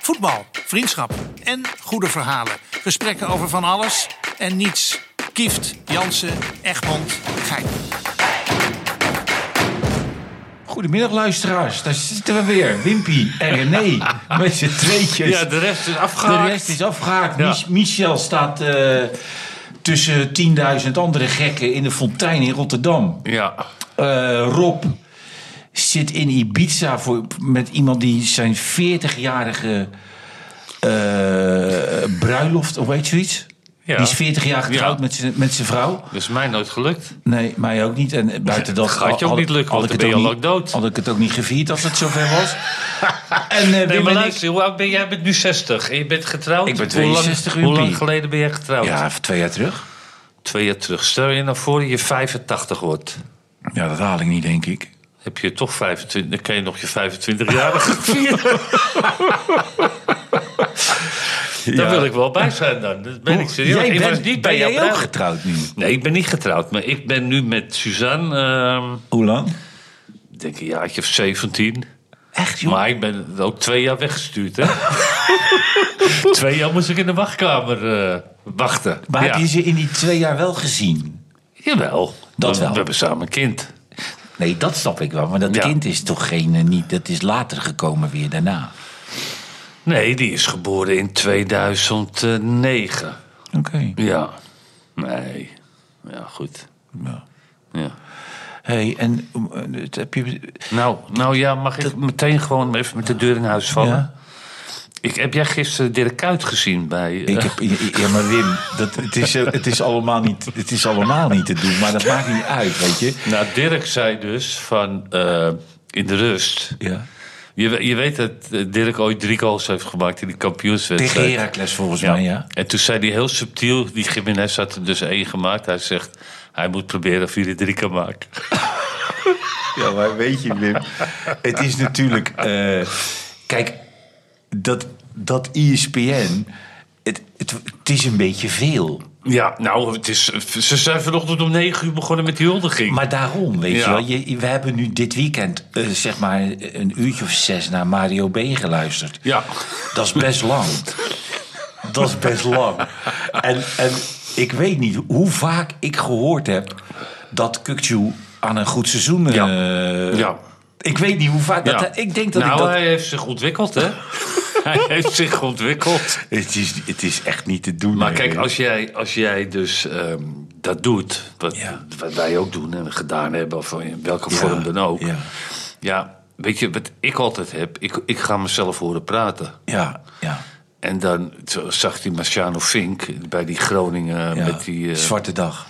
Voetbal, vriendschap en goede verhalen. Gesprekken over van alles en niets. Kieft, Jansen, Egmond, Gein. Goedemiddag luisteraars, daar zitten we weer. Wimpy en René met z'n tweetjes. Ja, de rest is de afgehaakt. rest is afgehaakt. Ja. Mich- Michel staat eh, tussen 10.000 andere gekken in de fontein in Rotterdam. Ja. Eh, Rob zit in Ibiza voor, met iemand die zijn 40-jarige eh, bruiloft, of weet je zoiets? Ja. Die is 40 jaar getrouwd Ja. met zijn- met zijn vrouw. Dat is mij nooit gelukt. Nee, mij ook niet. En buiten dat gaat je ook had- niet lukken, had want ik het dan ben je ook al niet- ook dood. Had ik het ook niet gevierd als het zover was. en eh Nee, Wim maar en ik... luister, hoe oud ben jij? Jij bent nu 60 en je bent getrouwd. Ik ben Hoe lang- 62, Hoe lang, Wimpy. geleden ben jij getrouwd? Ja, even twee jaar terug. Twee jaar terug. Stel je nou voor dat je 85 wordt. Ja, dat haal ik niet, denk ik. Heb je toch 25, dan kan je nog je 25-jarige vieren. Daar wil ik wel bij zijn dan. Dat ben ik serieus. Jij ik bent, was niet bij ben jou jij ook bruiloft. getrouwd nu? Nee, ik ben niet getrouwd. Maar ik ben nu met Suzanne, ehm, Hoe lang? ik denk een jaartje of 17. Echt, joh? Maar ik ben ook twee jaar weggestuurd, hè? twee jaar moest ik in de wachtkamer eh, wachten. Maar ja. heb je ze in die twee jaar wel gezien? Jawel. Dat we, wel. We hebben samen een kind. Nee, dat snap ik wel. Maar dat Ja. kind is toch geen... eh, Niet, dat is later gekomen weer daarna. Nee, die is geboren in 2009. Oké. Ja. Nee. Ja, goed. Ja. hey, en eh, het- heb je... Nou, nou ja, mag ik meteen gewoon even met de deur in huis vallen? Ja. Ik, heb jij gisteren Dirk Kuyt gezien bij... eh, Ik heb, ja, maar Wim, dat, het, is, eh, het, is allemaal niet, het is allemaal niet te doen. Maar dat maakt niet uit, weet je. Nou, Dirk zei dus van... eh, in de rust... Ja. Je, we- je weet dat eh, Dirk ooit drie goals heeft gemaakt in die kampioenswedstrijd. Tegen Heracles volgens mij, ja. En toen zei hij heel subtiel, die Jiménez had er dus één gemaakt. Hij zegt, hij moet proberen of hij er drie kan maken. Ja, maar weet je, Wim, het is natuurlijk... eh, kijk, dat, dat E ESPN, het, het, het is een beetje veel. Ja, nou, het is, ze zijn vanochtend om negen uur begonnen met die huldiging. Maar daarom, weet Ja. je wel, je, we hebben nu dit weekend, eh, zeg maar, een uurtje of zes naar Mario B. geluisterd. Ja. Dat is best lang. Dat is best lang. En, en ik weet niet hoe vaak ik gehoord heb dat Kukju aan een goed seizoen. eh, Ja. Ik weet niet hoe vaak. Dat, Ja. hij- Ik denk dat nou, ik dat. hij heeft zich ontwikkeld, hè? hij heeft zich ontwikkeld. Het, is, het is echt niet te doen. Maar hè. kijk, als jij, als jij dus ehm, dat doet, wat, Ja. wat wij ook doen en gedaan hebben, of in welke vorm dan ook. ja. Ja. weet je wat ik altijd heb? Ik, ik ga mezelf horen praten. Ja, ja. En dan zo zag die Marciano Fink bij die Groningen ja. met die... eh, Zwarte dag.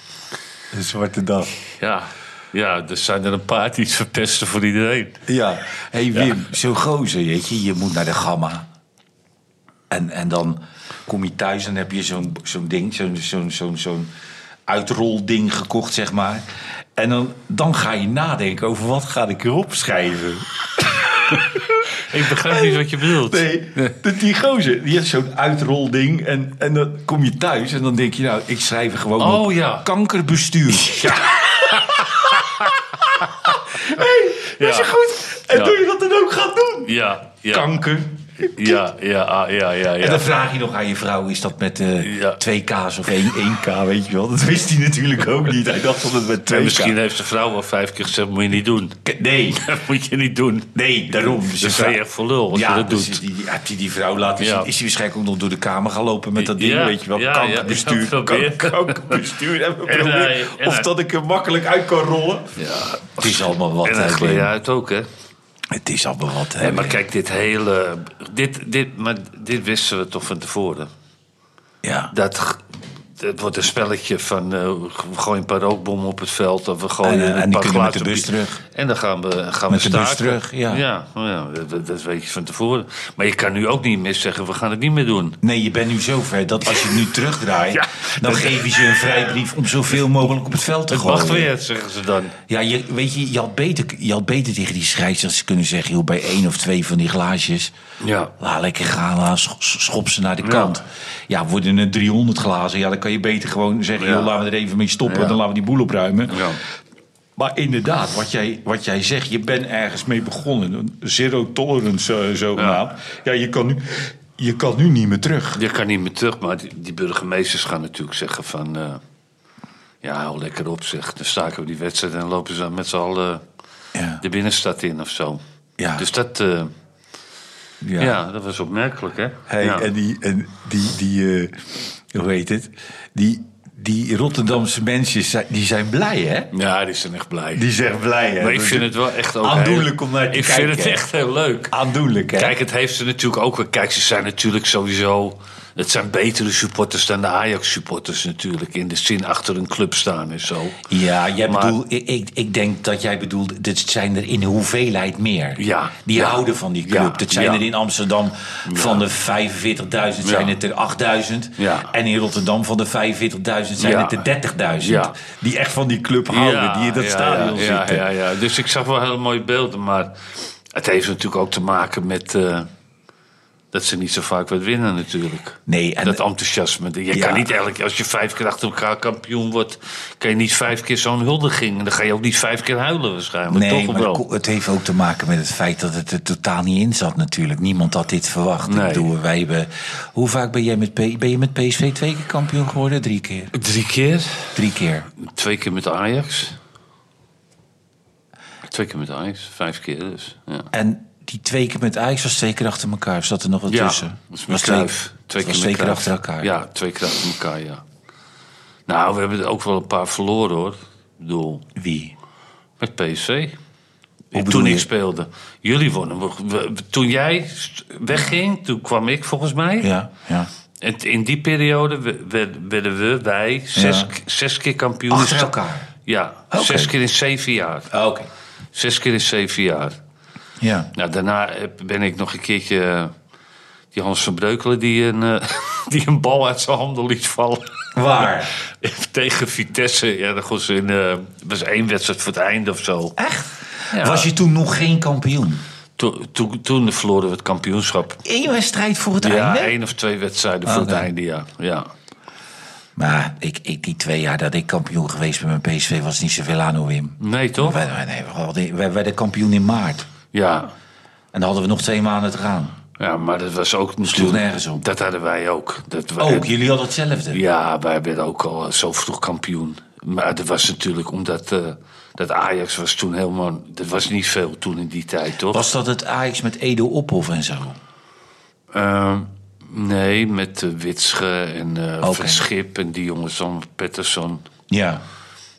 Een zwarte dag. ja, ja, er zijn er een paar die iets verpesten voor iedereen. Ja. hey, Wim, zo'n gozer, weet je. Je moet naar de gamma. En, en dan kom je thuis en heb je zo'n zo'n ding, zo'n zo'n zo'n zo'n uitrolding gekocht, zeg maar. En dan, dan ga je nadenken over wat ga ik erop schrijven. Ik begrijp niet wat je bedoelt. Nee, dat die gozer, die heeft zo'n uitrolding. En, en dan kom je thuis en dan denk je, nou, ik schrijf er gewoon Oh, op ja. kankerbestuur. Ja. hey, dat Ja. is goed. En Ja. doe je dat dan ook gaat doen. Ja, ja, Kanker. ja, ja, ja, ja, En ja. dan vraag je nog aan je vrouw, is dat met eh, Ja. twee K's of één, één K, weet je wel. Dat wist hij natuurlijk ook niet. Hij dacht dat het met twee En K... misschien heeft de vrouw wel vijf keer gezegd, moet je niet doen. Nee, Dat moet je niet doen. nee, daarom. Dus Dan je ben vrouw- je echt voor lul als ja, je dat dus doet. Die, die- heb je die vrouw laten Ja. zien? Is hij waarschijnlijk ook nog door de kamer gaan lopen met dat ding, Ja, weet je wel? ja, ja, kankerbestuur, ik heb het kan- geprobeerd. kankerbestuur. En we En proberen hij- en of hij- dat ik er makkelijk uit kan rollen. Ja. Het is allemaal wat, En dan hè, glij Wim. je uit ook, hè? Het is allemaal wat, hè, Nee, maar Wim. kijk, dit hele... Dit, dit, maar dit wisten we toch van tevoren. Ja. Dat, g- het wordt een spelletje van... eh, we gooien een paar rookbommen op het veld... of we gooien En, eh, en een die paar kunnen met de glazen bus bier. terug. En dan gaan we, gaan Met we de bus staken. terug, ja. Ja, nou ja, dat, dat weet je van tevoren. Maar je kan nu ook niet meer zeggen... we gaan het niet meer doen. Nee, je bent nu zo ver dat als je het nu terugdraait... Ja. dan geef je ze een vrijbrief om zoveel mogelijk op het veld te Het gooien. mag weer, zeggen ze dan. Ja, je, weet je, je had, beter, je had beter tegen die scheidsrechters kunnen zeggen... joh, bij één of twee van die glaasjes... Ja. laat lekker gaan, laat scho- schop ze naar de kant. Ja, worden er 300 glazen... ja, dan kan je beter gewoon zeggen... Ja. joh, laten we er even mee stoppen... Ja. dan laten we die boel opruimen. Ja. Maar inderdaad, wat jij, wat jij zegt... je bent ergens mee begonnen. Een Zero tolerance eh, zogenaamd. Ja. je kan nu... je kan nu niet meer terug. Je kan niet meer terug, maar die, die burgemeesters gaan natuurlijk zeggen van... eh, ja, hou lekker op zeg. Dan staken we die wedstrijd en lopen ze met z'n allen Ja. de binnenstad in of zo. Ja. Dus dat, eh, Ja. ja. dat was opmerkelijk, hè? Hey, ja. En die, en die, die eh, hoe heet het? Die, die Rotterdamse mensen, zijn- die zijn blij, hè? ja, die zijn echt blij. Die zijn blij, hè? maar ik vind het wel echt ook Aandoenlijk heel- om naar te Ik kijken, vind het hè? echt heel leuk. Aandoenlijk, hè? Kijk, het heeft ze natuurlijk ook wel. Kijk, ze zijn natuurlijk sowieso. Het zijn betere supporters dan de Ajax-supporters natuurlijk. In de zin achter een club staan en zo. Ja, jij Maar- bedoelt, ik, ik, ik denk dat jij bedoelt, dit zijn er in hoeveelheid meer. Ja. Die Ja. houden van die club. Ja. Dat zijn Ja. er in Amsterdam van de 45.000 zijn het er 8.000. Ja. En in Rotterdam van de 45.000 zijn Ja. het er 30.000. Ja. Die echt van die club houden, die in dat ja, stadion ja, zitten. Ja, ja, ja. Dus ik zag wel hele mooie beelden. Maar het heeft natuurlijk ook te maken met. eh, dat ze niet zo vaak wat winnen natuurlijk. Nee, en- dat enthousiasme. Je Ja. kan niet elke als je vijf keer achter elkaar kampioen wordt, kan je niet vijf keer zo'n huldiging. En dan ga je ook niet vijf keer huilen waarschijnlijk. Nee, toch maar wel. dat ko- het heeft ook te maken met het feit dat het er totaal niet in zat natuurlijk. Niemand had dit verwacht. Ik Nee. bedoel, wij hebben, hoe vaak ben jij met, P- ben je met PSV twee keer kampioen geworden? Drie keer? Drie keer? Drie keer. Twee keer met Ajax. Twee keer met Ajax, vijf keer dus. Ja, En die twee keer met Ajax was twee keer achter elkaar. Of zat er nog wat ja tussen? dat is met was twee, Cruijff. twee, keer was met twee keer Cruijff. achter elkaar. Ja, twee keer achter elkaar, ja. Nou, we hebben er ook wel een paar verloren hoor. Ik bedoel, Wie? met PSV. bedoel toen je? ik speelde. Jullie wonnen. We- we- Toen jij st- wegging, toen kwam ik volgens mij. Ja, ja. En t- in die periode we- we- werden we, wij, zes, Ja. k- zes keer kampioen. Achter elkaar? Ja, Oké. zes keer in zeven jaar. Oké. Zes keer in zeven jaar. Ja. Nou, daarna eh, ben ik nog een keertje... eh, Die Hans van Breukelen die een, eh, die een bal uit zijn handen liet vallen. Waar? Tegen Vitesse. Ja, dat was, in, eh, was één wedstrijd voor het einde of zo. Echt? Ja. Was je toen nog geen kampioen? Toen, toen, toen verloren we het kampioenschap. Eén wedstrijd voor het Ja, einde? Ah, één of twee wedstrijden voor Oké. het einde, ja. ja. Maar ik, ik, die twee jaar dat ik kampioen geweest ben met PSV was niet zoveel aan, hoor, Wim. Nee, toch? Wij, wij- nee, we hadden- wij werden kampioen in maart. Ja. En dan hadden we nog twee maanden te gaan. ja, maar dat was ook... sloeg natuurlijk- nergens op. Oh, Dat hadden wij ook. Dat wij- Ook, jullie hadden hetzelfde. Ja, wij werden ook al eh, zo vroeg kampioen. Maar dat was natuurlijk omdat eh, dat Ajax was toen helemaal... Dat was niet veel toen in die tijd, toch? Was dat het Ajax met Edo Ophof en zo? Ehm, nee, met eh, Witsche en eh Oké. Van Schip en die jongens dan, Pettersson. Ja.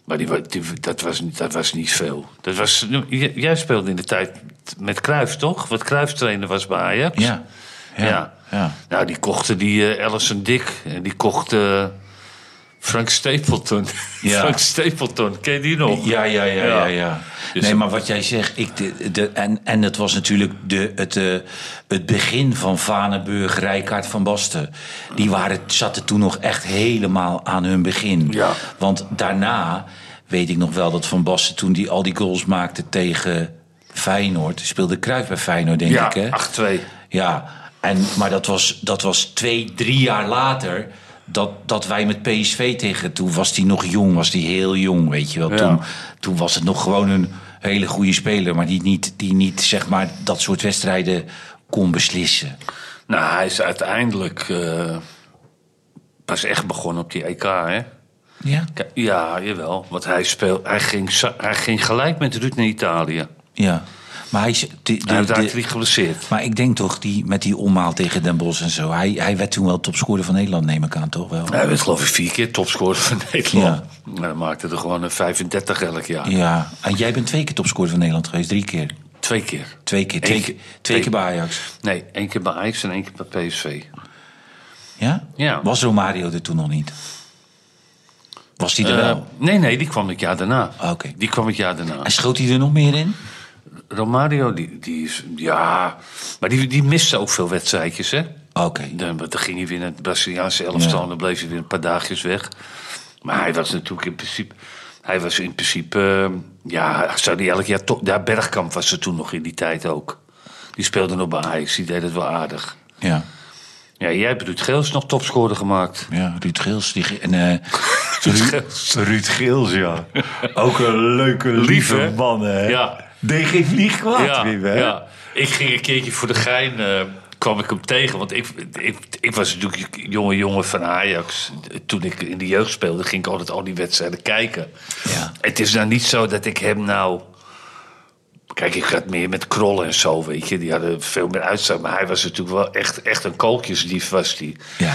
Maar die, wa- die- dat, was, niet- dat was niet veel. Dat was, j- jij speelde in de tijd met Cruijff, toch? Wat Cruijff trainer was bij Ajax. Ja. Ja. ja. Nou, die kochten die eh Alison Dick. En die kochten Frank Stapleton. Ja. Frank Stapleton, ken je die nog? Ja, ja, ja, ja. Ja. ja. Dus- nee, maar wat jij zegt, ik, de, de- en, en het was natuurlijk de, het, eh, het begin van Vanenburg, Rijkaard van Basten. Die waren, zaten toen nog echt helemaal aan hun begin. Ja. Want daarna weet ik nog wel dat Van Basten toen die al die goals maakte tegen Feyenoord, speelde Cruijff bij Feyenoord, denk ik. Ja, Hè? 8-2. Ja, en, maar dat was, dat was twee, drie jaar later. Dat, dat wij met PSV tegen. Toen was hij nog jong, was hij heel jong, weet je wel. Ja. Toen, toen was het nog gewoon een hele goede speler. Maar die niet, die niet zeg maar, dat soort wedstrijden kon beslissen. Nou, hij is uiteindelijk eh, pas echt begonnen op die EK, hè? Ja? K- Ja, jawel. Want hij, speel, hij, ging, sa- hij ging gelijk met Ruud naar Italië. Ja. Maar hij. is- de- de- Hij heeft de- eigenlijk geblesseerd. maar ik denk toch, die, met die omhaal tegen Den Bosch en zo. Hij, hij werd toen wel topscorer van Nederland, neem ik aan, toch wel? Hij werd geloof ik vier keer topscorer van Nederland. Maar Hij maakte er gewoon een 35 elk jaar. Ja. En jij bent twee keer topscorer van Nederland geweest, drie keer. Twee keer. Twee keer. Twee, Eén keer, keer. twee Eén- keer bij Ajax. Nee, één keer bij Ajax en één keer bij PSV. Ja? Ja. Was Romario er toen nog niet? Was hij er Eh, wel? nee, nee, die kwam het jaar daarna. Ah, oké. Die kwam het jaar daarna. En schoot hij er nog meer in? Romario, die, die is... Ja, maar die, die miste ook veel wedstrijdjes, hè? Oké. Dan, want dan ging hij weer naar het Braziliaanse elftal... Ja. en dan bleef hij weer een paar dagjes weg. Maar hij was natuurlijk in principe... Hij was in principe... eh, ja, zou die elk jaar... toch- Ja, Bergkamp was er toen nog in die tijd ook. Die speelde nog bij Ajax, die deed het wel aardig. Ja. Ja, jij hebt Ruud Geels nog topscorer gemaakt. ja, Ruud Geels. Die, ge- en, eh, Ruud, Geels. Ruud Geels, ja. Ook een leuke, lieve hè? man, hè? Ja. Deed geen vlieg kwaad, Wim, hè? ja. Ik ging een keertje voor de gein... eh, kwam ik hem tegen. Want ik, ik, ik was natuurlijk jonge jongen van Ajax. Toen ik in de jeugd speelde, ging ik altijd al die wedstrijden kijken. Ja. Het is nou niet zo dat ik hem nou... Kijk, ik had meer met krollen en zo, weet je. Die hadden veel meer uitstoot. Maar hij was natuurlijk wel echt, echt een kooltjesdief, was die. Ja.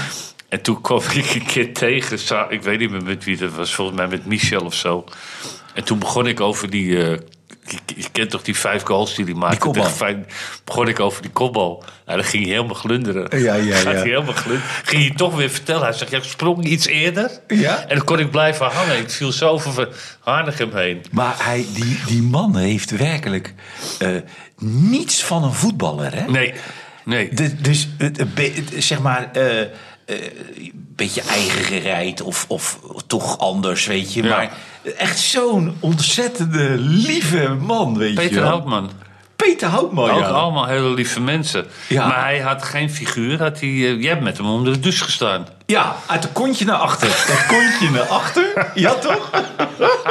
En toen kwam ik een keer tegen, sa- ik weet niet meer met wie dat was, volgens mij met Michel of zo. En toen begon ik over die, eh, je, je kent toch die vijf goals die hij maakte? kopbal. tegen Fijn- begon ik over die kopbal. Nou, dan ging hij helemaal glunderen. Ja, ja, Gaat ja. hij helemaal glunderen. Ging hij toch weer vertellen. Hij zegt, ja, ik sprong iets eerder. Ja. En dan kon ik blijven hangen. Ik viel zo over Harnegem heen. Maar hij, die, die man heeft werkelijk eh, niets van een voetballer, hè? Nee, nee. De- dus het- het be- het- zeg maar, eh, eh, een beetje eigen gereid of, of toch anders, weet je. Ja. Maar echt zo'n ontzettende lieve man, weet je. Peter wel. Houtman. Peter Houtman, Ook ja. allemaal hele lieve mensen. Ja. Maar hij had geen figuur. Had hij, eh, jij hebt met hem onder de douche gestaan. Ja, uit de kontje naar achter. Dat kontje naar achter. Ja, toch?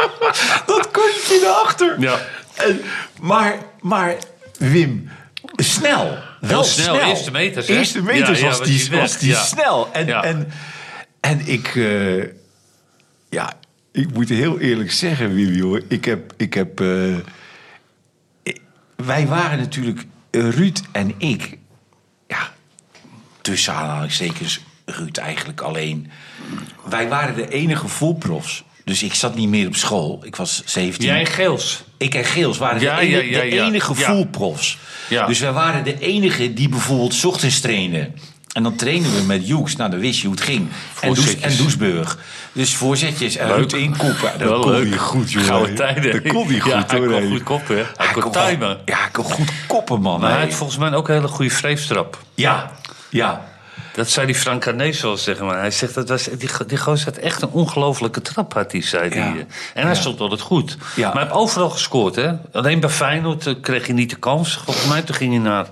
Dat kontje naar achter. Ja. En- maar, maar, Wim, snel. Wel snel. snel, eerste meters, hè? Eerste meters Ja, ja, was, was die, hij weg, was die ja. snel. En, Ja. en, en ik... eh, ja, ik moet heel eerlijk zeggen, Wim, joh. Ik heb... Ik heb eh, ik- wij waren natuurlijk, eh, Ruud en ik... Ja, tussen aanhalingstekens Ruud eigenlijk alleen. Wij waren de enige volprofs. Dus ik zat niet meer op school. Ik was 17. Jij en Geels. Ik en Geels waren Ja, de, ene- ja, ja, de ja. enige Ja. voelprofs. Ja. Dus wij waren de enige die bijvoorbeeld 's ochtends trainen. En dan trainen we met Joeks. Nou, dan wist je hoe het ging. En, Does, Voorzetjes. en Doesburg. Dus voorzetjes en Leuk. Ruud inkoppen. Dat Wel kon leuk. hij goed, joh. Gouden tijden. Dat kon hij Ja, goed, hij hoor. kon hè. goed koppen, hè. Hij kon wel- timen. Ja, hij kon goed koppen, man. Maar hè. hij had volgens mij ook een hele goede vreefstrap. Ja, ja. Dat zei die Frank Arnees wel zeggen. Maar hij zegt, dat was, die, go- die gozer had echt een ongelofelijke trap, had hij, zei Ja. hij. En hij stond altijd goed. Ja. Maar hij heeft overal gescoord, hè. Alleen bij Feyenoord eh, kreeg hij niet de kans. Volgens mij toen ging hij naar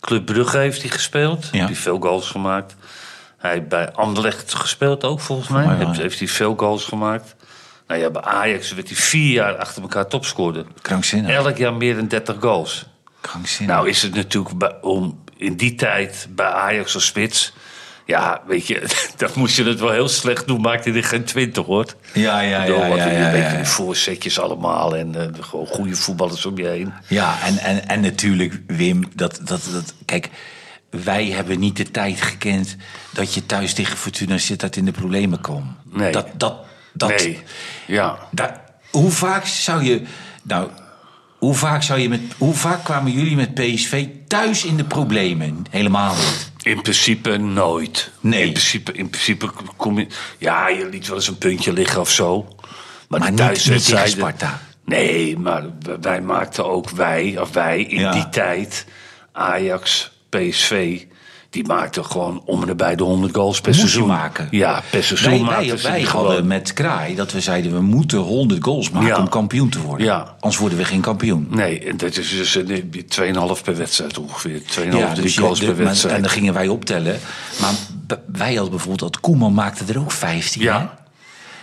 Club Brugge, heeft hij gespeeld. Ja. Heeft hij veel goals gemaakt. Hij heeft bij Anderlecht gespeeld ook, volgens mij. mij wel, heeft, ja. heeft hij veel goals gemaakt. Nou ja, bij Ajax werd hij vier jaar achter elkaar topscorer. Krankzinnig. Elk jaar meer dan 30 goals. Krankzinnig. Nou is het natuurlijk bij- om in die tijd bij Ajax als spits... Ja, weet je, dat moest je het wel heel slecht doen. Maakte hij er geen twintig, hoor. ja, ja, Door ja, wat ja, een ja, beetje ja, ja. die voorzetjes allemaal. En eh, gewoon goede voetballers om je heen. Ja, en, en, en natuurlijk, Wim, dat, dat, dat, kijk, wij hebben niet de tijd gekend dat je thuis tegen Fortuna zit dat in de problemen kwam. Nee. Dat, dat, dat, Nee, ja. daar- hoe vaak zou je, nou, hoe vaak, zou je met, hoe vaak kwamen jullie met PSV thuis in de problemen? Helemaal niet. In principe nooit. Nee. In principe, in principe kom je... Ja, je liet wel eens een puntje liggen of zo. Maar Maar, de niet- niet thuiswedstrijden- tegen Sparta. Nee, maar w- wij maakten ook wij, of wij in Ja. die tijd, Ajax, PSV... Die maakten gewoon om en nabij de 100 goals per Moest je seizoen. maken. Ja, per seizoen Wij, maakten wij, ze wij die hadden gewoon. met Kraai dat we zeiden we moeten 100 goals maken Ja. om kampioen te worden. Ja. Anders worden we geen kampioen. Nee, en dat is dus een- 2,5 per wedstrijd ongeveer. 2,5, Ja, 3 dus je- goals de- per maar- wedstrijd. En dan gingen wij optellen. Maar b- wij hadden bijvoorbeeld dat Koeman maakte er ook 15. Ja. Hè?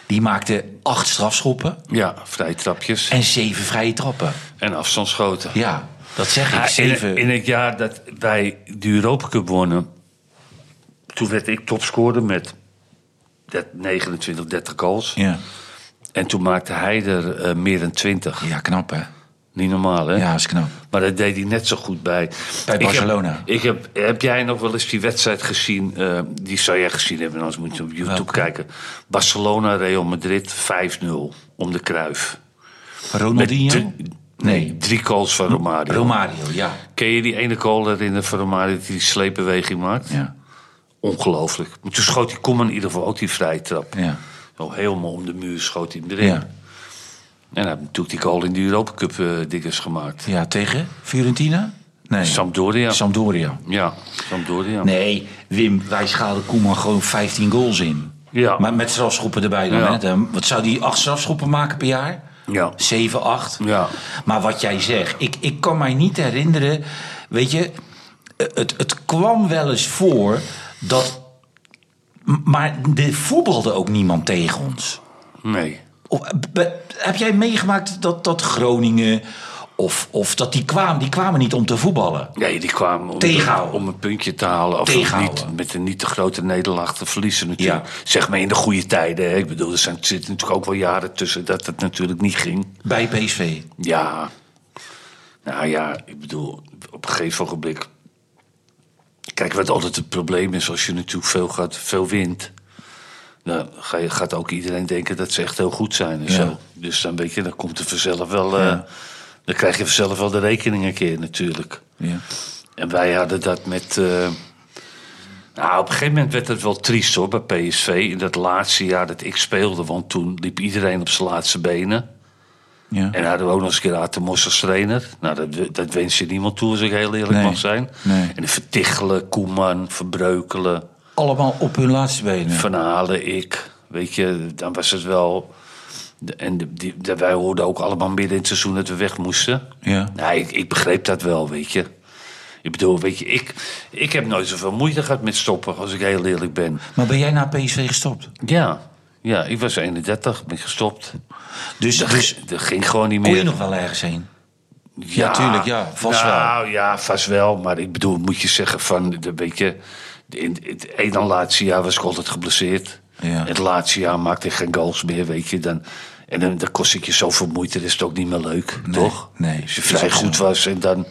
Die maakte acht strafschoppen Ja, vrije trapjes en, en zeven vrije trappen. afstandsschoten. Ja, dat zeg ik. Ja, in- zeven. in, het jaar dat wij de Europa Cup wonnen, toen werd ik topscorer met dat 29, 30 goals. ja. En toen maakte hij er eh, meer dan 20. ja, knap hè? Niet normaal, hè? Ja, is knap. Maar dat deed hij net zo goed bij. Bij Ik heb- Barcelona. Ik heb, heb, jij nog wel eens die wedstrijd gezien? eh, die zou jij gezien hebben, anders moet je op YouTube Welke? kijken. Barcelona, Real Madrid, 5-0 om de kruif. Ronaldinho? nee, drie goals van Romario. Romario, ja. Ken je die ene goal erin van Romario die die sleepbeweging maakt? Ja. Ongelooflijk. Maar toen schoot die Koeman in ieder geval ook die vrije trap. Ja. Zo helemaal om de muur schoot hij hem erin. Ja. En hij heeft natuurlijk die goal in de Europa Cup eh dikwijls gemaakt. ja, tegen Fiorentina? Nee. Sampdoria. Sampdoria. ja, Sampdoria. Nee, Wim, wij schaalden Koeman gewoon 15 goals in. Ja. Maar met strafschoppen erbij dan. Ja. Hè? Dan- Wat zou die acht strafschoppen maken per jaar? Ja. 7, 8. Ja. Maar wat jij zegt, ik, ik kan mij niet herinneren. Weet je, het, het kwam wel eens voor dat. m- Maar er voetbalde ook niemand tegen ons. Nee. Of, eh, be- heb jij meegemaakt dat, dat Groningen Of, of dat die kwamen, die kwamen niet om te voetballen. Nee, die kwamen om, Tegenhouden. om een puntje te halen. Of Tegenhouden. niet, met een niet te grote nederlaag te verliezen natuurlijk. Ja. Zeg maar in de goede tijden. Hè. Ik bedoel, er zijn, zitten natuurlijk ook wel jaren tussen dat het natuurlijk niet ging. Bij PSV. Ja. Nou ja, ik bedoel, op een gegeven ogenblik... Kijk, wat altijd het probleem is, als je natuurlijk veel, gaat, veel wint... dan ga je, gaat ook iedereen denken dat ze echt heel goed zijn en Ja. zo. Dus dan weet je, dan komt er vanzelf wel... eh, dan krijg je vanzelf wel de rekening een keer natuurlijk. Ja. En wij hadden dat met... eh, nou, op een gegeven moment werd het wel triest hoor, bij PSV. In dat laatste jaar dat ik speelde, want toen liep iedereen op zijn laatste benen... Ja. En hadden we ook nog eens een keer Atemos als trainer. Nou, dat, dat wens je niemand toe, als ik heel eerlijk Nee, mag zijn. nee. En de Vertichelen, Koeman, Verbreukelen, Allemaal op hun laatste benen. Van Halen, ik. Weet je, dan was het wel... de- En de- die, de- wij hoorden ook allemaal midden in het seizoen dat we weg moesten. Ja. Nou, ik, ik begreep dat wel, weet je. Ik bedoel, weet je, ik, ik heb nooit zoveel moeite gehad met stoppen, als ik heel eerlijk ben. Maar ben jij na PSV gestopt? Ja, ja ik was 31, ben gestopt. Dus, Dat, dus dat ging gewoon niet meer. kon je nog wel ergens heen? Ja, tuurlijk, ja, vast nou, ja, vast wel. Maar ik bedoel, moet je zeggen van, de, weet je... In het ene laatste jaar was ik altijd geblesseerd. Ja. Het laatste jaar maakte ik geen goals meer, weet je. Dan, en dan, dan kost ik je zoveel moeite, dat is het ook niet meer leuk, toch? nee, Als je is ook vrij zo. goed was en dan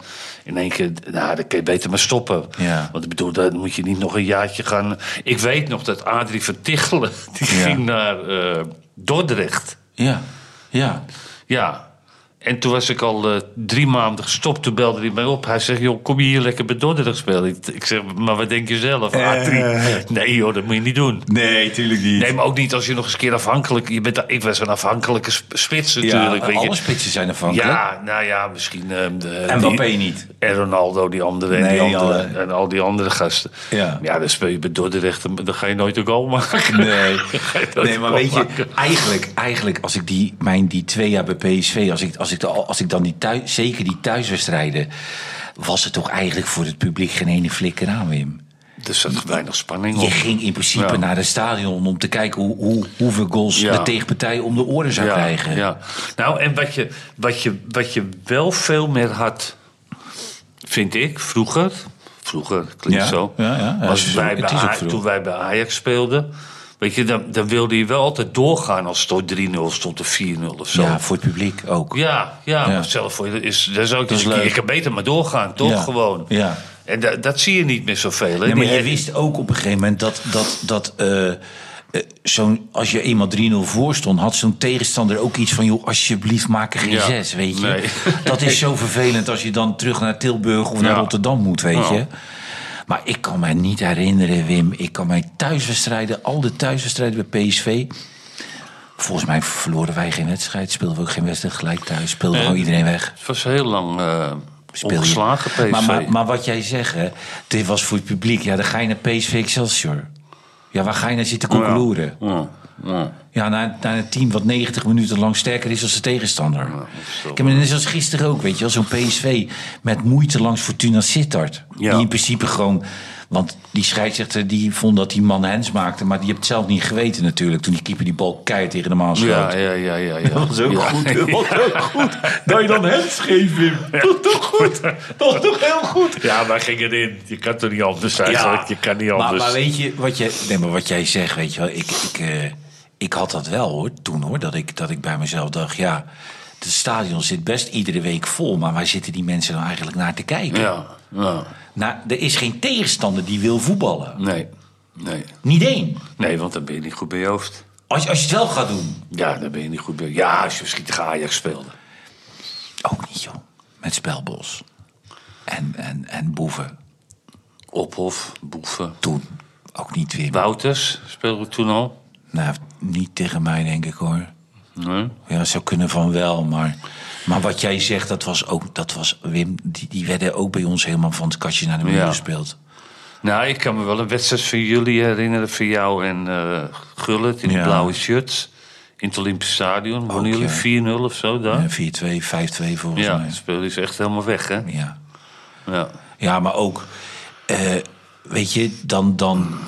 in één keer... Nou, dan kun je beter maar stoppen. Ja. Want ik bedoel, dan moet je niet nog een jaartje gaan... Ik weet nog dat Adrie van Tichelen, die Ja. ging naar eh, Dordrecht... Ja. Ja. Ja. En toen was ik al eh, drie maanden gestopt. Toen belde hij mij op. Hij zegt, joh, kom je hier lekker bij Dordrecht spelen? Ik, ik zeg, maar wat denk je zelf? Eh. Adrie? Nee joh, dat moet je niet doen. Nee, tuurlijk niet. Nee, maar ook niet als je nog eens een keer afhankelijk... Je bent, ik was een afhankelijke sp- spits natuurlijk. weet je. alle spitsen zijn ervan. Ja, nou ja, misschien... eh, de- En die- Mbappé niet. En Ronaldo, die andere. En, Nee, die andere, alle- en al die andere gasten. Ja. ja, dan speel je bij Dordrecht. Dan dan ga je nooit een goal maken. Nee. Dat nee, maar kan weet je, maken. eigenlijk, eigenlijk als ik die, mijn, die twee jaar bij PSV, als ik, als ik, de- als ik dan die thuis, zeker die thuiswedstrijden, was het toch eigenlijk voor het publiek geen ene flikker aan, Wim? Er zat weinig spanning op. Je ging in principe Ja. naar het stadion om te kijken hoe, hoe, hoeveel goals Ja. de tegenpartij om de oren zou krijgen. Ja. Nou, en wat je, wat, je, wat je wel veel meer had, vind ik, vroeger. Vroeger, klinkt Ja, zo. ja, ja, ja, het was is wij ook- bij het is ook Aj- vroeg. toen wij bij Ajax speelden. Weet je, dan, dan wilde je wel altijd doorgaan als het 3-0 stond of 4-0 of zo. Ja, voor het publiek ook. Ja, ja, Ja. maar zelf voor je dat is, dat is ook is een keer- leuk. Je kan beter maar doorgaan, toch? Ja, Gewoon. ja. En da- dat zie je niet meer zoveel. hè? Nee, maar Die- je wist ook op een gegeven moment dat, dat, dat eh, eh, zo'n, als je eenmaal 3-0 voor stond, had zo'n tegenstander ook iets van: joh, alsjeblieft, maak er geen Ja. zes. Weet je? Nee. Dat is zo vervelend als je dan terug naar Tilburg of Ja. naar Rotterdam moet, weet Ja. je. Maar ik kan mij niet herinneren, Wim. Ik kan mij thuiswedstrijden, al de thuiswedstrijden bij PSV. Volgens mij verloren wij geen wedstrijd. Speelden we ook geen wedstrijd gelijk thuis. Speelde gewoon iedereen weg. Het was heel lang eh Speel je. ongeslagen PSV. Maar, maar, maar wat jij zegt, hè, dit was voor het publiek. Ja, dan ga je naar PSV Excelsior. Ja, waar ga je naar zitten koekeloeren? Ja, ja. Ja, naar, naar een team wat 90 minuten lang sterker is als de tegenstander. is wel- Ik heb net zoals gisteren ook, weet je wel. Zo'n PSV met moeite langs Fortuna Sittard. Ja. Die in principe gewoon... Want die scheidsrechter die vond dat die man hands maakte. Maar die hebt het zelf niet geweten natuurlijk. Toen die keeper die bal keihard tegen de maan schoot. Ja, ja, ja, ja, ja. Dat was ook Ja. goed. Dat was ook goed. Dat je dan hands geeft, Wim. Dat was toch goed. Dat was toch heel goed. Ja, wij gingen erin. Je kan toch niet anders eigenlijk. Je kan niet Maar, anders. maar weet je wat jij, nee, maar wat jij zegt, weet je wel, ik, ik, eh, ik had dat wel hoor, toen hoor, dat ik, dat ik bij mezelf dacht, ja, het stadion zit best iedere week vol, maar waar zitten die mensen dan eigenlijk naar te kijken? Ja, ja. Nou, er is geen tegenstander die wil voetballen. Nee. nee. Niet één. Nee, want dan ben je niet goed bij je hoofd. Als, je- als je het wel gaat doen. Ja, dan ben je niet goed bij Ja, als je misschien tegen Ajax speelde. Ook niet joh, met Spelbos en, en, en Boeven, Ophof, Boeven. toen ook niet weer. Wouters speelde toen al. Nou, niet tegen mij denk ik hoor. Nee. Ja, het zou kunnen van wel, maar... Maar wat jij zegt, dat was ook... Dat was, Wim, die, die werden ook bij ons helemaal van het kastje naar de muur Ja. gespeeld. Nou, ik kan me wel een wedstrijd van jullie herinneren. Van jou en eh Gullit in die Ja. blauwe shirts. In het Olympisch Stadion. Wonnen Ook, ja. jullie 4-0 of zo daar? Eh, 4-2, 5-2 volgens Ja, mij. het speelde is echt helemaal weg, hè? Ja. Ja. ja, maar ook... eh, weet je, dan, dan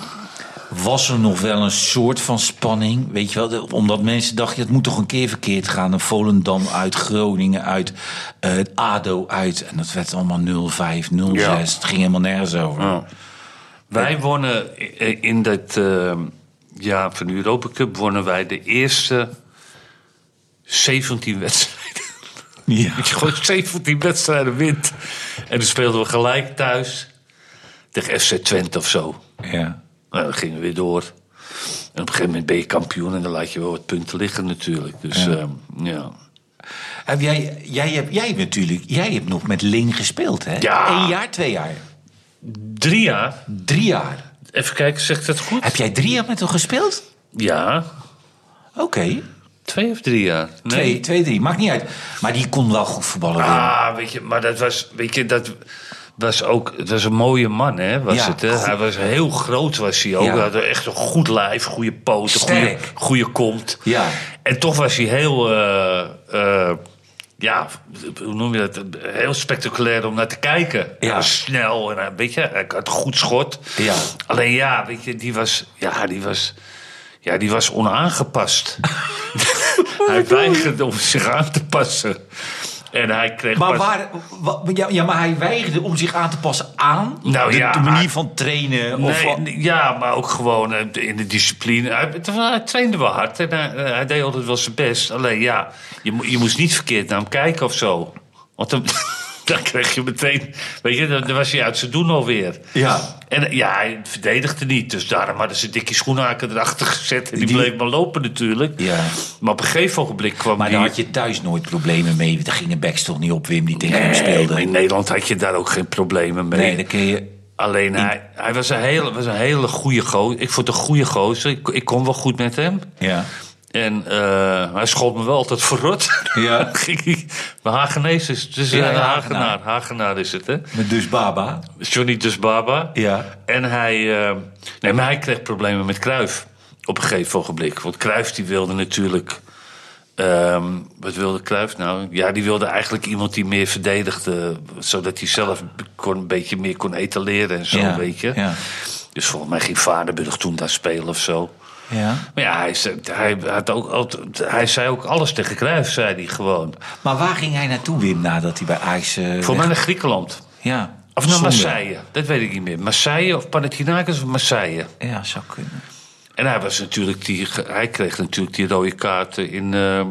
was er nog wel een soort van spanning. Weet je wel, de- omdat mensen dachten, het moet toch een keer verkeerd gaan. Een Volendam uit, Groningen uit, eh, ADO uit. En dat werd allemaal 0-5, 0-6. Ja. Het ging helemaal nergens over. Ja. Wij wonnen i- in dat eh, jaar van de Europa Cup wonnen wij de eerste 17 wedstrijden. Ja. Dat je gewoon 17 wedstrijden wint. En dan speelden we gelijk thuis tegen FC Twente of zo. ja. Nou, dan gingen we weer door. En op een gegeven moment ben je kampioen en dan laat je wel wat punten liggen natuurlijk. Dus ehm, ja. Heb Ah, jij, jij, hebt, jij hebt natuurlijk, jij hebt nog met Ling gespeeld, hè? Ja. Eén jaar, twee jaar, Drie jaar. drie jaar. Even kijken, zegt dat goed? Heb jij drie jaar met hem gespeeld? Ja. Oké, Twee of drie jaar? twee, twee, drie, maakt niet uit. Maar die kon wel goed voetballen. Ling. Ah, weet je, maar dat was, weet je, dat was ook, het was een mooie man, hè, was Ja, het, hè? Hij goed. was heel groot, was hij ook. Ja. Hij had echt een goed lijf, goede poten, goede, Sterk. goede kont. Ja. En toch was hij heel, eh, eh, ja, hoe noem je dat, heel spectaculair om naar te kijken. Ja. Hij was Snel, en hij, weet je, hij had een goed schot. Ja. Alleen ja, weet je, die was, ja, die was, ja, die was onaangepast. hij weigerde om zich aan te passen. En hij kreeg Maar pas- waar, wa- ja, ja, maar hij weigerde om zich aan te passen aan Nou de, ja, de manier hij- van trainen. Nee, Of, wa- nee, ja, maar ook gewoon eh, in de discipline. Hij, hij trainde wel hard en hij, hij deed altijd wel zijn best. Alleen ja, je, mo- je moest niet verkeerd naar hem kijken of zo. Want dan, dan kreeg je meteen... Weet je, dan, dan was hij uit zijn doen alweer. Ja. En eh, ja, hij verdedigde niet. Dus daarom hadden ze dikke schoenhaken erachter gezet. En die, Die- bleef maar lopen natuurlijk. Ja. Maar op een gegeven ogenblik kwam maar die... daar had je thuis nooit problemen mee. Daar ging een backs toch niet op, Wim, die tegen hem Nee, maar speelde. in Nederland had je daar ook geen problemen mee. Nee, dan kun je... Alleen hij, hij was, een hele, was een hele goede gozer. Ik vond het een goede gozer. Ik, ik kon wel goed met hem. Ja. En eh, hij schoot me wel altijd verrot. Ja. Ging hij- maar Hagenees is het. is Ja, ja, een Hagenaar. Hagenaar. Hagenaar is het, hè? Met dus Baba. Johnny Dusbaba. Ja. En hij... eh, nee, maar hij kreeg problemen met Kruif. Op een gegeven ogenblik. Want Kruif die wilde natuurlijk... ehm, wat wilde Kruif nou? Ja, die wilde eigenlijk iemand die meer verdedigde. Zodat hij zelf kon, een beetje meer kon etaleren en zo, Ja, weet je. ja. Dus volgens mij ging Vaderburg toen daar spelen of zo. Ja. Maar ja, hij, zei- hij, had ook, altijd- hij zei ook alles tegen Kruif, zei hij gewoon. Maar waar ging hij naartoe, Wim, nadat hij bij Ajax... eh, Voor mij weg- naar Griekenland. Ja. Of naar zonde. Marseille, dat weet ik niet meer. Marseille of Panathinaikos of Marseille. Ja, zou kunnen. En hij, was natuurlijk die, ge- hij kreeg natuurlijk die rode kaarten in ehm,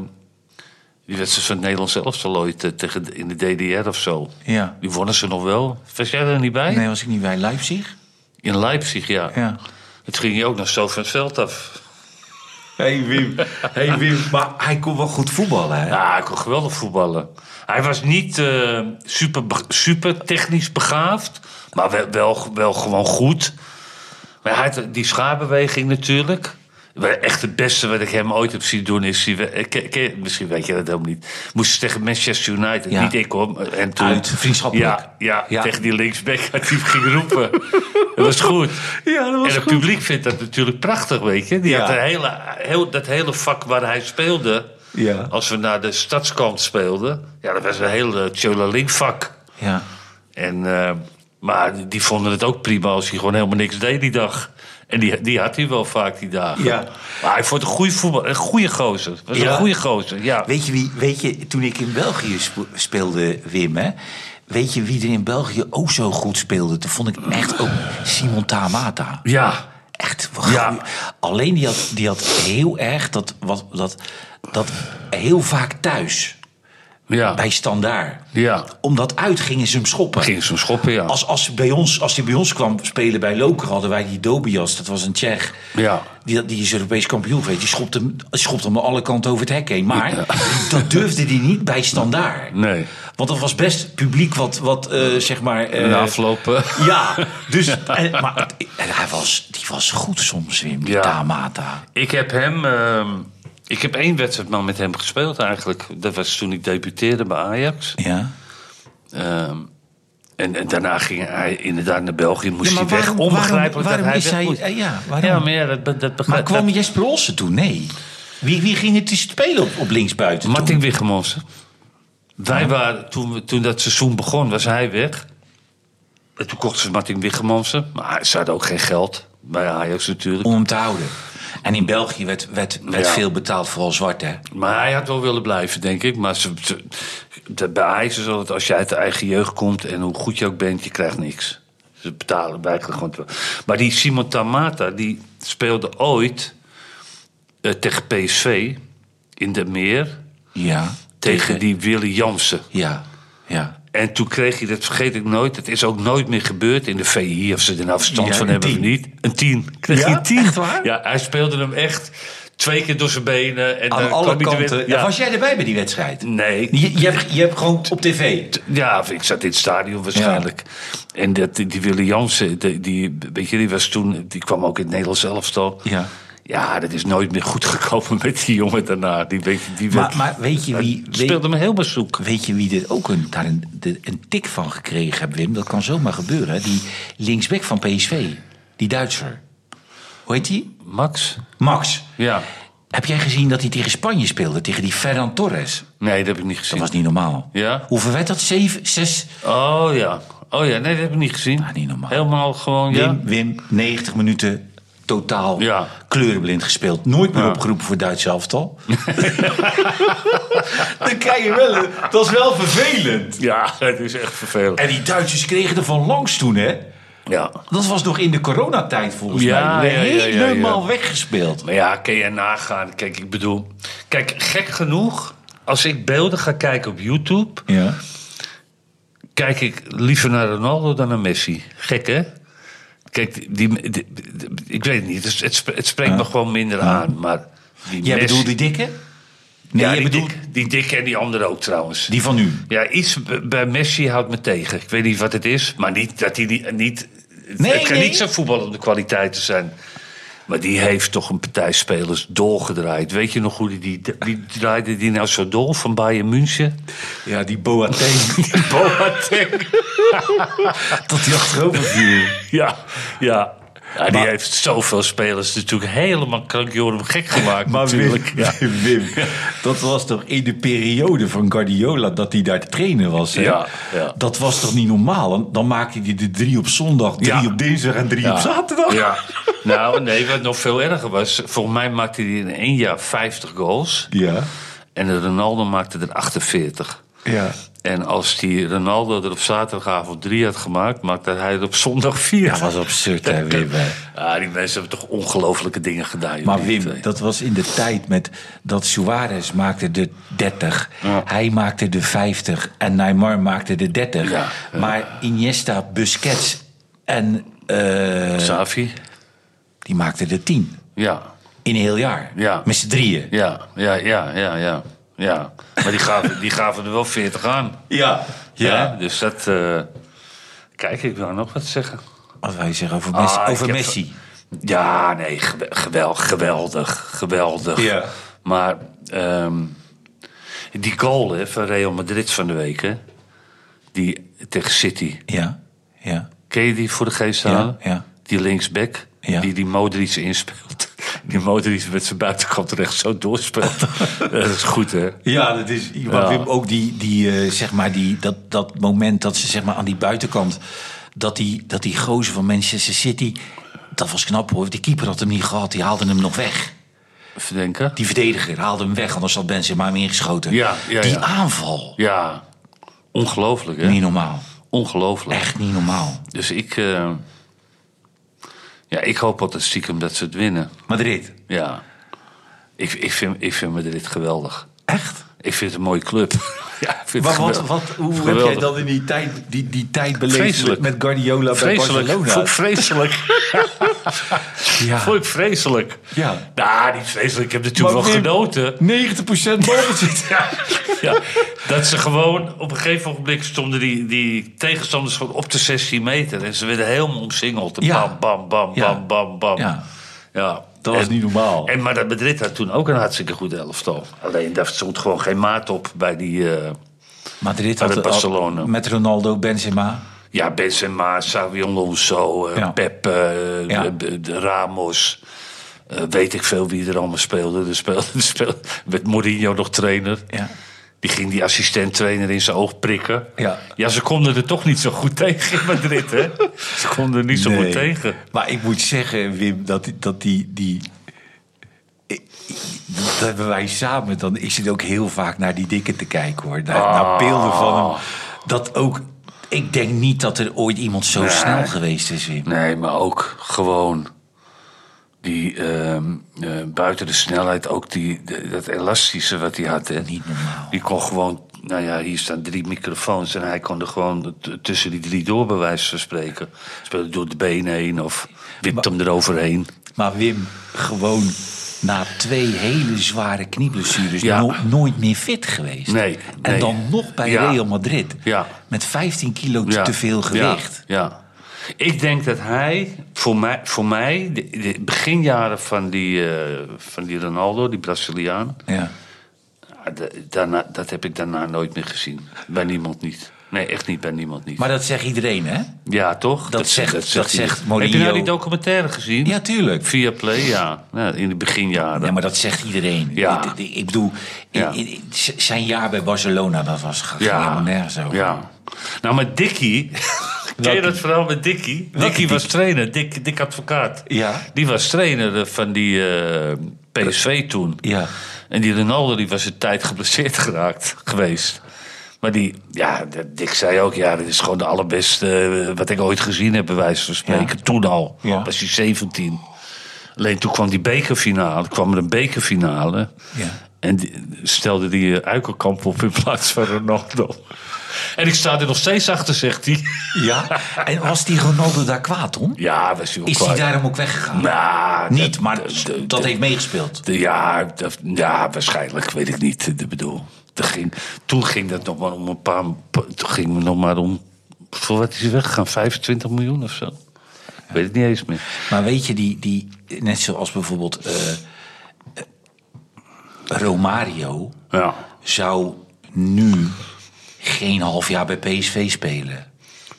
die wedstrijd van het Nederlands elftal ooit eh, tegen, de- in de DDR of zo. Ja. Die wonnen ze nog wel. Was jij er niet bij? Nee, was ik niet bij Leipzig? In Leipzig, ja. Ja. Het ging je ook nog zo van het veld af. Hé hey Wim, hey Wim, maar hij kon wel goed voetballen, hè? Ja, hij kon geweldig voetballen. Hij was niet eh, super, be- super technisch begaafd, maar wel, wel, wel gewoon goed. Maar hij had die schaarbeweging natuurlijk. Maar Echt het beste wat ik hem ooit heb zien doen is... die we- eh, ken- ken- misschien weet je dat helemaal niet. Moest tegen Manchester United, Ja. niet ik hoor. En toen, Uit, vriendschappelijk. Ja, ja, Ja. tegen die linksback had hij ging roepen. dat was goed. Ja, dat was en het goed. publiek vindt dat natuurlijk prachtig, weet je. Die Ja. had een hele, heel, dat hele vak waar hij speelde... Ja. Als we naar de stadskant speelden, ja, dat was een heel Tjola vak. Ja. En, eh, maar die- die vonden het ook prima als hij gewoon helemaal niks deed die dag. En die, die had hij wel vaak die dagen. Ja. Maar hij vond een goede voetbal, een goede gozer. Was Ja. een goede gozer, ja. Weet je wie, weet je, toen ik in België spo- speelde, Wim, hè? Weet je wie er in België ook zo goed speelde? Toen vond ik echt ook Simon Tamata. Ja. Echt, Ja. ja. alleen die had, die had heel erg dat, wat, dat, dat heel vaak thuis Ja. bij standaard. Ja. Omdat uit gingen ze hem schoppen. Ging ze hem schoppen, ja. Als, als, hij bij ons, als hij bij ons kwam spelen bij Loker, hadden wij die Dobias, dat was een Tsjech. Ja. Die, die is Europees kampioen geweest. Die schopte hem, schopte hem alle kanten over het hek heen. Maar dat durfde hij niet bij standaard. Nee. Want dat was best publiek wat, wat eh, zeg maar. eh, En de afgelopen... ja, dus. En, maar het- en hij was, die was goed soms, Wim, die Ja. Tamata. Ik heb hem... ehm, ik heb één wedstrijd maar met hem gespeeld eigenlijk. Dat was toen ik debuteerde bij Ajax. Ja. Ehm, en, en daarna ging hij inderdaad naar België. Moest Ja, maar hij weg. waarom- Onbegrijpelijk waarom- waarom dat hij is weg hij- moest. eh, ja, waarom? maar ja, dat, be- dat Maar begrijp kwam dat- Jesper Olsen toen? Nee. Wie, wie ging het die spelen op, op linksbuiten? toen? Martin Wichemonsen. Wij waren, toen, we- toen dat seizoen begon, was hij weg. En toen kochten ze Martin Wichemonsen. Maar ze hadden ook geen geld. Bij Ajax natuurlijk. om hem te houden. En in België werd, werd, werd Ja. veel betaald, vooral zwart, hè? Maar hij had wel willen blijven, denk ik. Maar ze, ze- de- bij Ajax is altijd, als je uit de eigen jeugd komt... en hoe goed je ook bent, je krijgt niks. Ze betalen eigenlijk gewoon... te- Maar die Simon Tamata, die speelde ooit eh, tegen PSV in de meer... Ja. tegen die Willy Jansen. Ja, ja. En toen kreeg hij, dat vergeet ik nooit, het is ook nooit meer gebeurd in de VI, of ze er nou verstand Ja, van een hebben of tien. niet. Een tien. Kreeg Ja? hij een tien? Echt waar? Ja, hij speelde hem echt twee keer door zijn benen. En Aan dan alle kwam hij er weer- kanten. ja. Was jij erbij bij die wedstrijd? Nee. Je, je, hebt, je hebt gewoon op tv. Ja, ik zat in het stadion waarschijnlijk. En dat, die Willy Jansen, die, die, weet je, die, was toen, die kwam ook in het Nederlands elftal. Ja. Ja, dat is nooit meer goed gekomen met die jongen daarna. Die, weet, die Maar, werd- maar weet je wie... het Weet, speelde me heel bezoek. weet je wie dit ook een, daar een, de- een tik van gekregen heeft, Wim? Dat kan zomaar gebeuren. hè? Die linksback van PSV. Die Duitser. Hoe heet die? Max? Max. Ja. Heb jij gezien dat hij tegen Spanje speelde? Tegen die Ferran Torres? Nee, dat heb ik niet Dat gezien. was niet normaal. Ja? Hoeveel werd dat? Zeven, zes... Oh ja. Oh ja, nee, dat heb ik niet gezien. Ah, niet normaal. Helemaal gewoon, ja. Wim, Wim, 90 minuten totaal Ja. kleurenblind gespeeld. Nooit meer Ja. opgeroepen voor het Duitse elftal. Dan krijg je wel... een- Dat is wel vervelend. Ja, het is echt vervelend. En die Duitsers kregen er van langs toen, hè? Ja. Dat was nog in de coronatijd volgens Ja, mij. ja, ja, ja, ja. helemaal weggespeeld. Maar ja, kun je nagaan. Kijk, ik bedoel... Kijk, gek genoeg, als ik beelden ga kijken op YouTube... Ja. kijk ik liever naar Ronaldo dan naar Messi. Gek, hè? Kijk, die, die- die- ik weet het niet. Het, het, sp- het spreekt me gewoon minder aan. Maar die Jij Messi- bedoelt die dikke? Nee, ja, jij die, bedoelt dik- die dikke en die andere ook trouwens. die van nu. Ja, iets b- bij Messi houdt me tegen. Ik weet niet wat het is, maar niet dat hij niet. niet Nee, het kan nee. niet zijn voetballende kwaliteiten zijn. Maar die heeft toch een partij spelers dolgedraaid. Weet je nog hoe die, die, die draaide die nou zo dol van Bayern München? Ja, die Boateng. Boateng. dat die achterover viel. ja, ja. Ja, die Maar- heeft zoveel spelers natuurlijk helemaal krankjorum gek gemaakt Maar natuurlijk. Wim, Ja. Wim, dat was toch in de periode van Guardiola dat hij daar te trainen was. Hè? Ja, ja. Dat was toch niet normaal? En Dan maakte hij de drie op zondag, drie Ja. op dinsdag en drie op zaterdag. Ja. Nou, nee, wat nog veel erger was. Volgens mij maakte hij in één jaar 50 goals. Ja. En de Ronaldo maakte er 48. ja. En als die Ronaldo er op zaterdagavond drie had gemaakt, maakte hij er op zondag vier. Dat was absurd, hè, Wim. hè. Ah, die mensen hebben toch ongelofelijke dingen gedaan. joh, Maar die Wim, twee. dat was in de tijd met dat Suarez maakte de 30. Hij maakte de 50 en Neymar maakte de 30. Ja, Maar Iniesta, Busquets en eh, Xavi? die maakten de 10. Ja. In een heel jaar. Ja. Met z'n drieën. Ja, ja, ja, ja, ja. ja. Maar die gaven, die gaven er wel 40 aan. Ja. Hè? Dus dat. eh, Kijk, ik wil nog wat zeggen. Wat wij zeggen over Messi. Ah, ik over heb- Messi. Ja, nee, gewe- gewel- geweldig. Geweldig. Ja. Maar ehm, die goal hè, van Real Madrid van de week, hè, die tegen City. Ja. Ja. Ken je die voor de geest halen? ja. Die linksback, Ja. die die Modric inspeelt. Die Modric met zijn buitenkant recht zo doorspeelt. dat is goed, hè? Ja, dat is. Maar Ja. Wim, ook die, die, eh, zeg maar die, dat, dat moment dat ze zeg maar, aan die buitenkant. Dat die, dat die gozer van Manchester City. Dat was knap hoor. Die keeper had hem niet gehad. Die haalde hem nog weg. Even denken. Die verdediger haalde hem weg. Anders had Benzema hem ingeschoten. Ja, ja, die ja. aanval. Ja, ongelooflijk, hè? Niet normaal. Ongelooflijk. Echt niet normaal. Dus ik... eh, ja, ik hoop altijd stiekem dat ze het winnen. Madrid. Ja. Ik, ik, vind, ik vind Madrid geweldig. Echt? Ik vind het een mooie club. ja, ik vind Maar het wat, geweldig. wat, hoe heb Geweldig. jij dan in die tijd, die, die tijd beleefd met, Vreselijk. met Guardiola Vreselijk. bij Vond ik Barcelona? vreselijk. Ja. Vond ik vreselijk. Ja. Nou, niet vreselijk. Ik heb natuurlijk Maar wel Wim- genoten. 90% balbezit. Ja, ja, dat ze gewoon op een gegeven ogenblik stonden die, die tegenstanders gewoon op de 16 meter. En ze werden helemaal omsingeld. En Ja. Bam, bam, bam, Ja. bam, bam, bam. Ja. Ja. Dat was En- niet normaal. En, maar dat Madrid had toen ook een hartstikke goed elftal. Alleen daar stond gewoon geen maat op bij die... eh, Madrid Maar had met had- Barcelona. met Ronaldo, Benzema. ja, Benzema, Xavi Alonso, eh, Ja. Pep, eh, Ja. de- de Ramos... eh, weet ik veel wie er allemaal speelde. Er speelde, er speelde- werd Mourinho nog trainer. Ja. Die ging die assistent-trainer in zijn oog prikken. Ja. ja, ze konden er toch niet zo goed tegen in Madrid, hè? Ze konden er niet zo goed Nee. tegen. Maar ik moet zeggen, Wim, dat, die- dat die... die ik- ik- dat hebben wij samen. Dan, ik zit ook heel vaak naar die dikke te kijken, hoor. Naar, Ah. naar beelden van hem. Dat ook... Ik denk niet dat er ooit iemand zo snel geweest is, Wim. Nee, maar ook gewoon die ehm, eh, buiten de snelheid, ook die, de- dat elastische wat hij had. Hè. Niet normaal. Die kon gewoon, nou ja, hier staan drie microfoons en hij kon er gewoon t- tussen die drie door bij wijze van spreken. Speelde door de benen heen of wipt hem eroverheen. Maar Wim, gewoon na twee hele zware knieblessures... Ja. no- nooit meer fit geweest. Nee, en nee. dan nog bij Ja. Real Madrid. Ja. Met 15 kilo te- Ja, te veel ja, gewicht. Ja, Ik denk dat hij, voor mij, voor mij de, de beginjaren van die, eh, van die Ronaldo, die Braziliaan, Ja. Ja, Ah, da- Daarna, dat heb ik daarna nooit meer gezien. Bij niemand niet. Nee, echt niet bij niemand niet. Maar dat zegt iedereen, hè? ja, toch? zegt- dat hij. zegt Mourinho. Heb je nou die documentaire gezien? Ja, tuurlijk. Via Play, ja. Ja, In de beginjaren. Ja, maar dat zegt iedereen. Ja. Ik, ik- ik bedoel, in- Ja. in- in- z- zijn jaar bij Barcelona, dat was ging helemaal nergens over. Ja. Nou, maar Dickie... Ken je dat verhaal met Dickie? Dickie was trainer, Dick, Dick Advocaat. Ja. Die was trainer eh, van die eh, PSV toen. Ja. En die Ronaldo die was een tijd geblesseerd geraakt geweest. Maar die, ja, de- Dick zei ook, ja, dit is gewoon de allerbeste eh, wat ik ooit gezien heb, bij wijze van spreken. Toen al, Ja. was hij 17. Alleen toen kwam die bekerfinale, kwam er een bekerfinale. Ja. En die- stelde die eh, Uikelkamp op in plaats van Ronaldo. En ik sta er nog steeds achter, zegt hij. Ja? En was die Ronaldo daar kwaad om? Ja, was hij ook Is hij kwaad. daarom ook weggegaan? Nou, Niet, dat- maar dat- dat, dat- heeft meegespeeld. De- Ja, dat- ja, waarschijnlijk, weet ik niet. Ik bedoel, er ging, toen ging dat nog maar om een paar... Toen ging het nog maar om... Voor wat is hij weggegaan? 25 miljoen of zo? Ik weet het niet eens meer. Maar weet je, die, die, net zoals bijvoorbeeld eh, eh, Romario Ja. zou nu geen half jaar bij PSV spelen.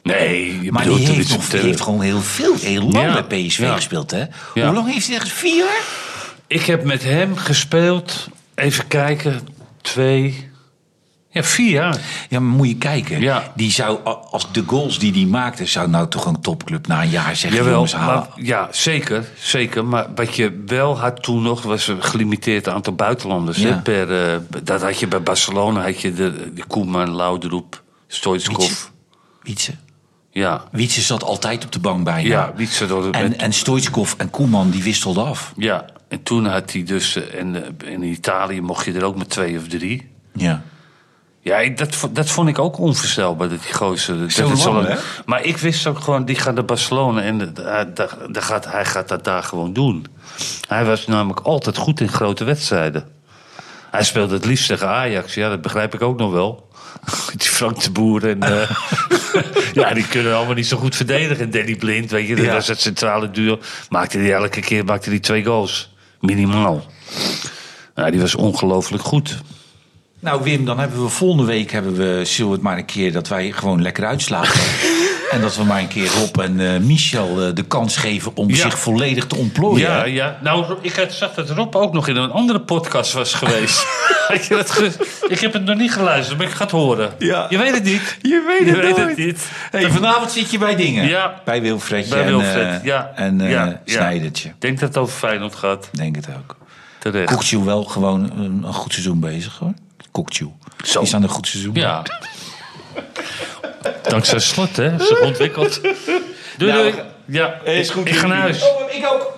Nee, je Maar bedoelt, die dit heeft, is eh, nog, een die heeft gewoon heel veel, heel lang Ja, bij PSV ja. gespeeld, hè? Ja. Hoe lang heeft hij ergens? Vier jaar? Ik heb met hem gespeeld, even kijken, twee... Ja, vier jaar. Ja, maar moet je kijken. Ja. Die zou, a- als de goals die die maakte, zou nou toch een topclub na een jaar zeggen: Jawel, jongens, maar, halen. ja, zeker, zeker. Maar wat je wel had toen nog, was een gelimiteerd aantal buitenlanders. Ja. Hè, per, eh, dat had je bij Barcelona, had je de, de Koeman, Laudrup, Stoitskov. Wietse. Wietse. Ja, Wietse zat altijd op de bank bijna. ja, Wietse. door de- En, en Stoitskov en Koeman die wisselden af. ja, en toen had hij dus, eh, en eh, in Italië mocht je er ook met twee of drie. Ja. Ja, ik- dat, vo- dat vond ik ook onvoorstelbaar, dat die gozer... dat Zo het zo lang, lang- hè? Maar ik wist ook gewoon, die gaat naar Barcelona en de- hij- daar- daar gaat, hij gaat dat daar gewoon doen. Hij was namelijk altijd goed in grote wedstrijden. Hij speelde het liefst tegen Ajax, ja, dat begrijp ik ook nog wel. Die Frank de Boer en... eh, ja, die kunnen allemaal niet zo goed verdedigen. En Danny Blind, weet je, dat Ja. was het centrale duo. Maakte die elke keer maakte die twee goals. Minimaal. Nou, die was ongelooflijk goed. Nou, Wim, dan hebben we volgende week hebben we, zullen we het maar een keer dat wij gewoon lekker uitslagen. en dat we maar een keer Rob en eh, Michel eh, de kans geven om Ja. zich volledig te ontplooien. Ja, ja. Nou, ik had- zag dat Rob ook nog in een andere podcast was geweest. Had je dat ge- ik heb het nog niet geluisterd, maar ik ga het horen. Ja. Je weet het niet. Je weet het nooit. niet. Hey, vanavond zit je bij dingen. Ja. Bij Wilfredje Bij en, Wilfred, eh, ja. en eh, ja, ja. Snijdertje. Ik denk dat het over Feyenoord gaat. Denk het ook. Terecht. Kokchu wel gewoon een, een goed seizoen bezig hoor. Kokchu. Zo. Is aan een goed seizoen. Ja. Dankzij slot, hè. Ze ontwikkeld. Doei, Nou, Oh. doei. Ja, is goed. Ik ga naar huis. ik ook.